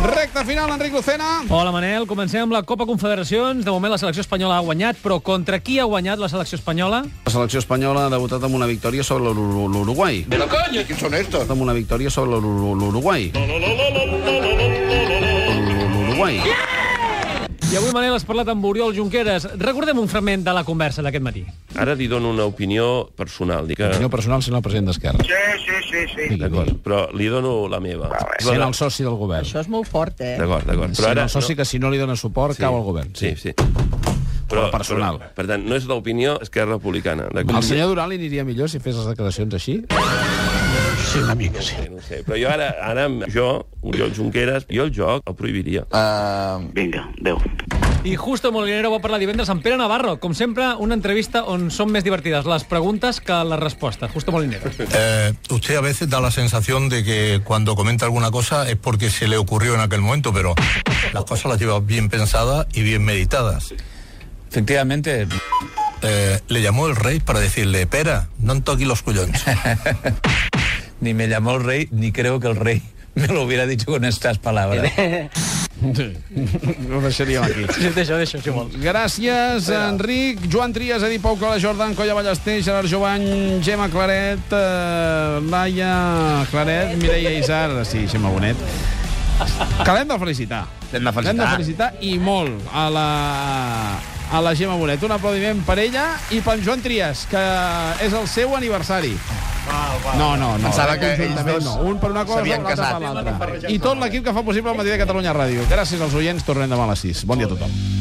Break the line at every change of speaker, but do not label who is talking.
Recta final, Enric Lucena.
Hola, Manel. Comencem amb la Copa Confederacions. De moment la selecció espanyola ha guanyat, però contra qui ha guanyat la selecció espanyola?
La selecció espanyola ha debutat amb una victòria sobre l'Uru- l'Uruguai.
¡De la coña!
Quins són estos?
Amb una victòria sobre l'Uru- l'Uruguai. L'Uruguai.
I avui, Manel, has parlat amb Oriol Junqueras. Recordem un fragment de la conversa d'aquest matí.
Ara li dono una opinió personal. Dic que...
Senyor personal, sent el president d'Esquerra. Sí, sí, sí. sí.
D'acord, però li dono la meva.
Sent el soci del govern.
Això és molt fort, eh?
D'acord, d'acord.
Sent el soci que si no li dona suport, cau al govern.
Sí, sí.
Però personal.
Però, per tant, no és l'opinió Esquerra Republicana. d'acord?
Al senyor Duran li aniria millor si fes les declaracions així?
Sí, No ho sé, però jo ara, ara jo, Oriol Junqueras, jo el joc el prohibiria. Ah.
I Justo Molinero va parlar divendres amb Pere Navarro. Com sempre, una entrevista on són més divertides les preguntes que les respostes. Justo Molinero.
Eh, usted a veces da la sensación de que cuando comenta alguna cosa es porque se le ocurrió en aquel momento, pero las cosas las lleva bien pensadas y bien meditadas.
Efectivamente,
Eh, le llamó el rey para decirle, pera, no toqui los cuyones.
ni me llamó el rey, ni creo que el rey me lo hubiera dicho con estas palabras.
Ho deixaríem aquí.
Deixa, deixa, si vols.
Gràcies, Enric. Joan Trias, Edi Pau, Cala Jordan, Colla Ballester, Gerard Jovany, Gemma Claret, eh, Laia Claret, Mireia Isar, sí, Gemma Bonet. Que l'hem de felicitar.
L'hem de felicitar.
L'hem de felicitar i molt a la, a la Gemma Bonet. Un aplaudiment per ella i per en Joan Trias, que és el seu aniversari. No, no, no.
Pensava que
Conjuntament
ells dos
no. Un per una cosa,
s'havien
l'altre per
casat.
l'altra. I tot l'equip que fa possible el matí de Catalunya Ràdio. Gràcies als oients, tornem demà a les 6. Bon dia a tothom.